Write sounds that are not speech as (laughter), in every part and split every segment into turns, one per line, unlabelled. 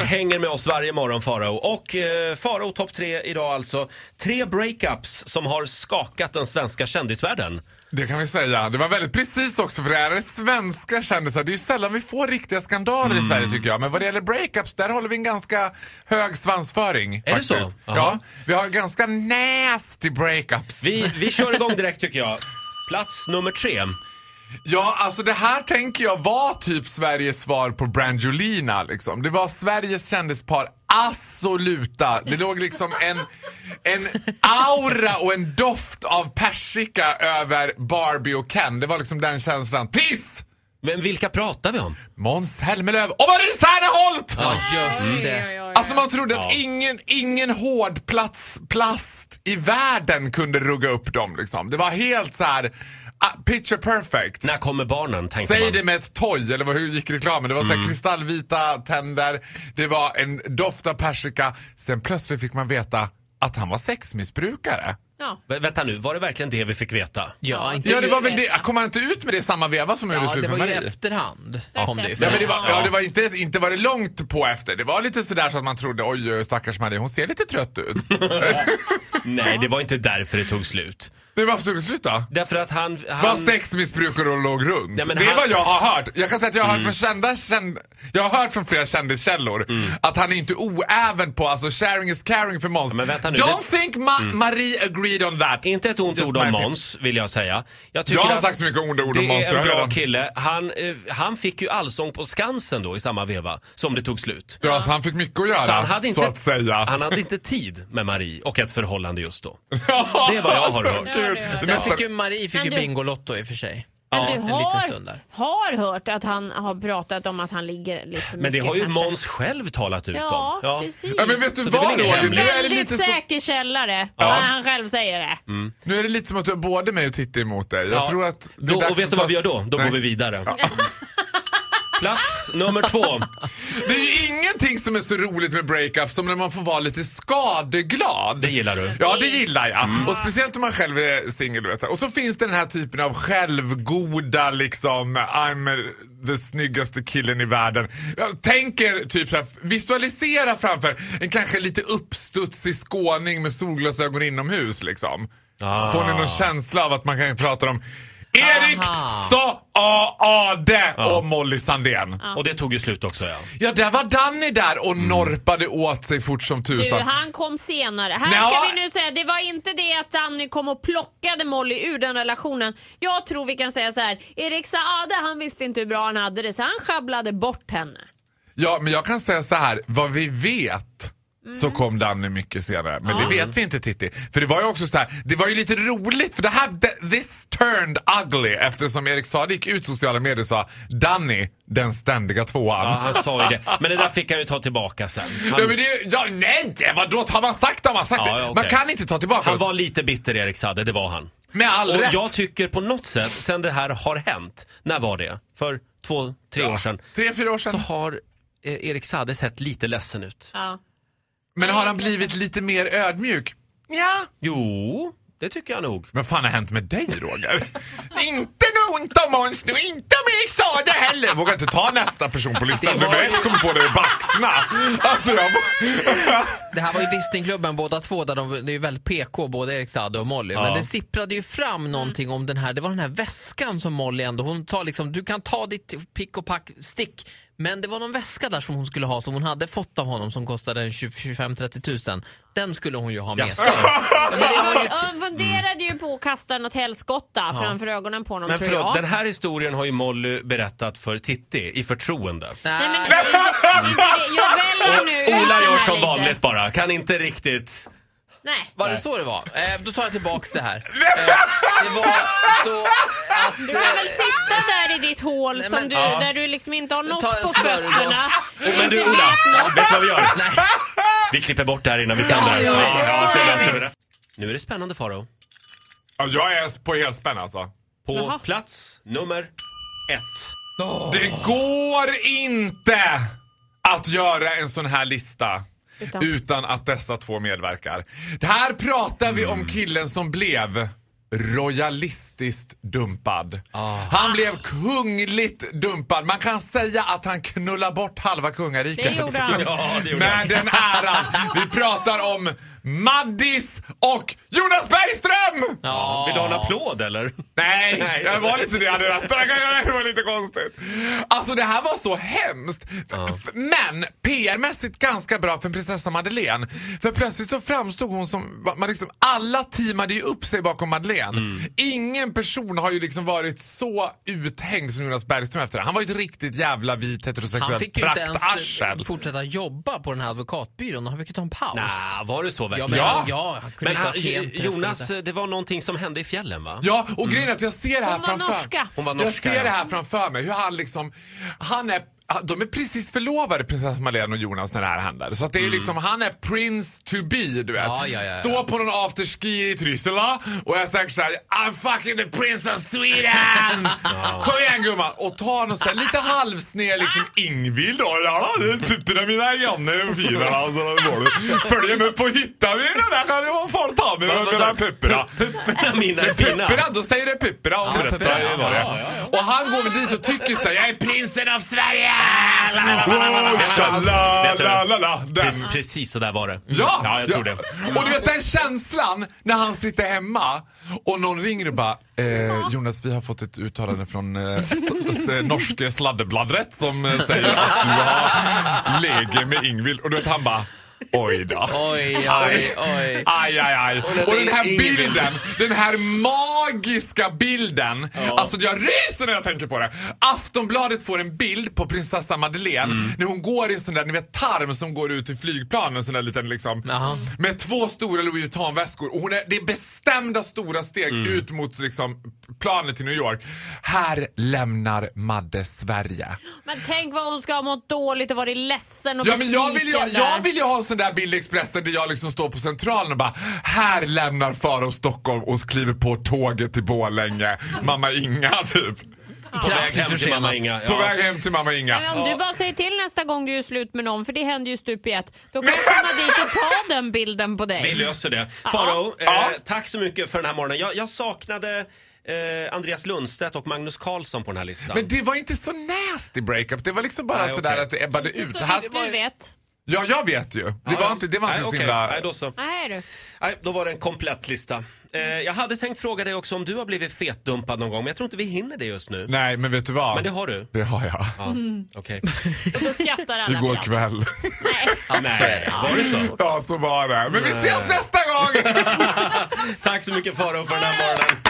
hänger med oss varje morgon, Farao. Och eh, Farao topp tre idag alltså. Tre breakups som har skakat den svenska kändisvärlden.
Det kan vi säga. Det var väldigt precis också för det här är svenska kändisar. Det är ju sällan vi får riktiga skandaler
Mm.
i Sverige tycker jag. Men vad det gäller breakups, där håller vi en ganska hög svansföring.
Är det så?
faktiskt.
Jaha.
Ja, vi har ganska nasty breakups.
Vi, vi kör igång direkt tycker jag. Plats nummer tre.
Ja, alltså det här tänker jag var typ Sveriges svar på Brangelina liksom. Det var Sveriges kändispar absoluta. Det låg liksom en, en aura och en doft av persika över Barbie och Ken. Det var liksom den känslan. Tills
Men vilka pratar vi om?
Måns Zelmerlöw och Marie Serneholt!
Ja,
Just
Oj,
det.
oj, oj.
Alltså man trodde
Ja.
att ingen, ingen hård plats, plast i världen kunde rugga upp dem liksom. Det var helt så här ah, picture perfect.
När kommer barnen, tänkte
Säg
man.
det med ett toj, eller vad- hur gick reklamen? Det var så här kristallvita tänder, det var en doft av persika. Sen plötsligt fick man veta att han var sexmissbrukare.
Ja.
Vä- vänta nu, var det verkligen det vi fick veta?
Ja, inte
Ja, det var väl det. Kom han inte ut med det i samma veva som han gjorde
Ja,
slut
det
med
var ju
Marie?
efterhand.
Ja.
Kom det ju
Ja,
fram.
men det var, ja,
Ja.
det var inte, inte var det långt på efter. Det var lite sådär så att man trodde oj, stackars Marie, hon ser lite trött
(laughs)
ut.
Nej, det var inte därför det tog slut.
det var absolut slut då.
Därför att han...
Var
han...
sexmissbrukare och låg runt.
Nej, men
det
han-
är
Mm.
vad jag har hört. Jag kan säga att jag har hört från kända känd... Jag har hört från flera kändiskällor
Mm.
att han är inte oäven på alltså sharing is caring för Måns.
Ja, men vänta nu, Mm.
Don't think Ma- Marie agreed on that.
Inte ett ont
Just
ord
my
om
opinion.
Måns, vill jag säga. Jag, tycker
Jag har
att
sagt så mycket onda ord
det
om Måns.
är en
jag
bra
redan.
kille. Han, eh, han fick ju allsång på Skansen då i samma veva som det tog slut.
Ja, så han fick mycket att göra,
Så han hade,
så
inte,
att säga. (laughs)
han hade inte tid med Marie och ett förhållande just då. Det är vad jag har hört.
Ja, det är-
Sen
Nästa-
fick ju Marie fick
Men
ju
du-
Bingolotto i och för sig.
Men du
en liten stund där.
har, har hört att han har pratat om att han ligger lite mycket
Men det har ju
kanske.
Måns själv talat ut
Ja,
om. Ja.
precis.
Ja, men vet du
Så det är väl
vad
ingen
Roger? Nu är, det
Väldigt
lite så,
säker källare,
Ja.
när han själv säger det.
nu är det lite som att du har både mig och Titti emot dig. Jag
Ja.
tror att det är
Då,
dags
och vet
att
du vad
ta-
vi gör då? Då
Nej.
går vi vidare.
(laughs)
Plats nummer två.
Det är ju ingenting som är så roligt med breakup som när man får vara lite skadeglad.
Det gillar du.
Ja, det gillar jag. Och speciellt om man själv är singel. du vet så här. Och så finns det den här typen av självgoda liksom, I'm eh, the snyggaste killen i världen. Jag tänker typ så här, visualisera framför en kanske lite uppstudsig skåning med solglasögon inomhus liksom.
Ah.
Får ni någon känsla av att man kan prata om Erik
Aha.
Saade och Molly Sandén.
Och det tog ju slut också ja.
Ja, där var Danny där och norpade åt sig fort som
Du,
tusan.
han kom senare. Här
Nja.
ska vi nu säga, det var inte det att Danny kom och plockade Molly ur den relationen. Jag tror vi kan säga så här, Erik Saade han visste inte hur bra han hade det så han sjabblade bort henne.
Ja, men jag kan säga så här, vad vi vet så kom Danny mycket senare. Men det vet vi inte Titti. För det var ju också så här, det var ju lite roligt för det här, th- this turned ugly eftersom Erik Saade gick ut i sociala medier och sa Danny, den ständiga tvåan.
ja. Han sa ju det. Men det där fick han ju ta tillbaka sen. Han,
(laughs) Ja, men det, ja, nej, vadå? Har man sagt det har man sagt
Ja,
det.
ja,
Man
okej.
kan inte ta tillbaka
han
det.
var lite bitter Erik Saade, det var han.
Med all
Och
rätt.
jag tycker på något sätt, sen det här har hänt, när var det? För två, tre år sedan.
Tre, fyra år
Så
sedan.
har eh, Erik Saade sett lite ledsen ut.
Ja.
Men har han blivit lite mer ödmjuk? Ja.
Jo, det tycker jag nog.
Vad fan har hänt med dig Roger? inte något ont om Måns nu, inte om Erik Saade heller. Vågar inte ta nästa person på listan.
Det var
Nummer
ju-
ett kommer få dig att baxna. Alltså jag... (laughs)
Det här var ju Disneyklubben båda två, där de, det är ju väldigt PK, både Erik Saade och Molly. Men det sipprade ju
Mm.
fram någonting om den här, det var den här väskan som Molly ändå, hon tar liksom, du kan ta ditt pick och pack, stick. Men det var någon väska där som hon skulle ha, som hon hade fått av honom som kostade 25-30 tusen. Den skulle hon ju ha med
(laughs)
sig. Men det var ju-
Han funderade ju på att kasta något helskotta framför ögonen på honom
Men
tror
förlåt,
jag.
den här historien har ju Molly berättat för Titti i förtroende.
Nej, men,
Nej.
inte det. jag väljer nu ut den
Ola
här
gör som
lite.
vanligt bara, kan inte riktigt...
Nej.
Var det så det var? Eh, då tar jag tillbaks det
(laughs)
här. Eh, det var så
Du
att...
kan väl sitta där i ditt hål
Nej,
som
men-
du,
Ja.
där du liksom inte har något
Ta en
på
smörgås.
fötterna.
Oh, men du Ola, vet du vad vi gör? Vi klipper bort det här innan vi sänder.
Ja, ja,
Ja, ja, så
ja.
löser vi det. Nu är det spännande Faro.
Ja, jag är på helspänn alltså.
På
Jaha.
plats nummer ett.
Det går inte att göra en sån här lista
Utan.
utan, att dessa två medverkar. Det här pratar vi om killen som blev royalistiskt dumpad. Han blev kungligt dumpad. Man kan säga att han knullar bort halva kungariket.
Det gjorde han.
Ja, det gjorde han.
Med den äran. Vi pratar om Maddis och Jonas Bergström!
Ja.
Vill du ha en applåd eller?
Nej, jag var lite det jag hade väntat. (laughs) Det var lite konstigt. Alltså det här var så hemskt. F- f- Men PR-mässigt ganska bra för prinsessa Madeleine. För plötsligt så framstod hon som... va- Man liksom, alla teamade ju upp sig bakom Madeleine. Ingen person har ju liksom varit så uthängd som Jonas Bergström efter det. Han var ju ett riktigt jävla vit
Han
heterosexuellt
fick ju inte ens eh,
praktarsel.
fortsätta jobba på den här advokatbyrån. Han fick ju ta en paus.
Nej, var det så
Ja,
verkligen?
men,
Ja.
ja. ja, han kunde
Men han,
inte ha klient
Jonas,
efter det.
det var någonting som hände i fjällen va?
Ja, och grejen är att jag ser det här
Hon var
framför
norska.
Mm. Hon var
jag
norska,
ser det
ja.
här framför mig. Hur han liksom, han är de är precis förlovade prinsessan Madeleine och Jonas när det här händer. Så att
Mm.
det är liksom, han är prince to be du vet.
Ja, ja, ja, ja.
Står på någon afterski i Trysela och är säkert såhär I'm fucking the prince of
(laughs)
Sweden! Kom igen gumman! Och tar någon såhär lite halvsned liksom Ingvild då. Ja, det är pupporna mina grannar och fina. Alltså, det går det. Följ med upp och hitta mig. Det där kan ju vara folk ta mig.
Vad
De
sa
där
du?
pupporna.
(laughs) Mina fina.
Puppera, då säger det Puppera om det
Puppera,
röstar i
ja,
Norge.
ja,
Och han går väl dit och tycker så här, jag är prinsen av Sverige!
la, la, la.
Vet du?
la, la,
Den.
Precis, precis så där var det.
Ja!
ja jag tror det.
Och du vet den känslan när han sitter hemma och någon ringer och bara eh, Jonas vi har fått ett uttalande från eh, s- s- norske sladdebladdret som eh, säger att du har läge med Ingvild och du vet han bara Oj då.
Oj, oj, oj.
Aj, aj, aj. Och den här bilden, den här magiska bilden. Alltså jag ryser när jag tänker på det. Aftonbladet får en bild på prinsessa Madeleine när hon går i en sån där, ni vet tarm som går ut till flygplanen, en sån där liten liksom.
Jaha.
Med två stora Louis Vuitton-väskor. Och hon är, det är bestämda stora steg ut mot liksom, planet till New York. Här lämnar Madde Sverige.
Men tänk vad hon ska ha mått dåligt och varit ledsen och
Ja, men jag, vill ju,
besviken
jag
där.
vill ju ha en sån där bild i Expressen där jag liksom står på Centralen och bara Här lämnar Farao Stockholm och kliver på tåget till Borlänge. Mamma Inga (laughs) typ.
På väg
Kraftigt
hem till mamma
försenat.
Inga.
På
Ja.
väg hem till mamma Inga.
Men om du bara säger till nästa gång du är slut med någon, för det händer ju stup i ett, då kan jag komma dit och ta den bilden på
Vi
dig.
löser det. Faro,
Ja.
eh, tack så mycket för den här morgonen. Jag, jag saknade eh, Andreas Lundstedt och Magnus Karlsson på den här listan.
Men det var inte så nasty breakup. Det var liksom bara
Nej,
sådär
okej.
att det ebbade ut.
Så
Här-
vitt du vet.
Ja, jag vet ju. Det var inte, det var inte
Nej,
så
okej.
himla...
Nej, då så.
Nej du.
Nej, då var det en komplett lista. Eh, jag hade tänkt fråga dig också om du har blivit fetdumpad någon gång, men jag tror inte vi hinner det just nu.
Nej, men vet du vad?
Men det har du?
Det har jag.
Ja,
(laughs)
okej.
Och då skrattar alla.
Igår
glatt.
kväll.
Nej.
Nej, var det så?
(laughs) Ja, så var det. Men vi ses nästa gång!
(laughs) Tack så mycket Faro för den här morgonen.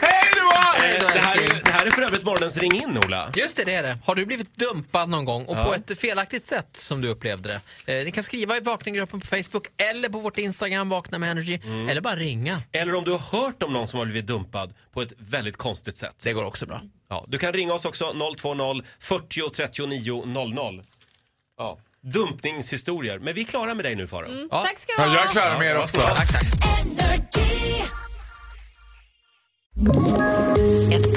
Hej då!
Eh, det, här är, det här är för övrigt morgonens Ring in, Ola.
Just det, det är det. Har du blivit dumpad någon gång och på ett felaktigt sätt som du upplevde det? Eh, ni kan skriva i vakninggruppen på Facebook eller på vårt Instagram, Vakna med Energy,
Mm.
eller bara ringa.
Eller om du har hört om någon som har blivit dumpad på ett väldigt konstigt sätt.
Det går också bra.
Ja, du kan ringa oss också, 020 40 39 00. Ja. Dumpningshistorier. Men vi är klara med dig nu Farao.
Ja.
Tack ska du
Ja,
ha.
jag är klar med er också.
Tack, tack.
Ett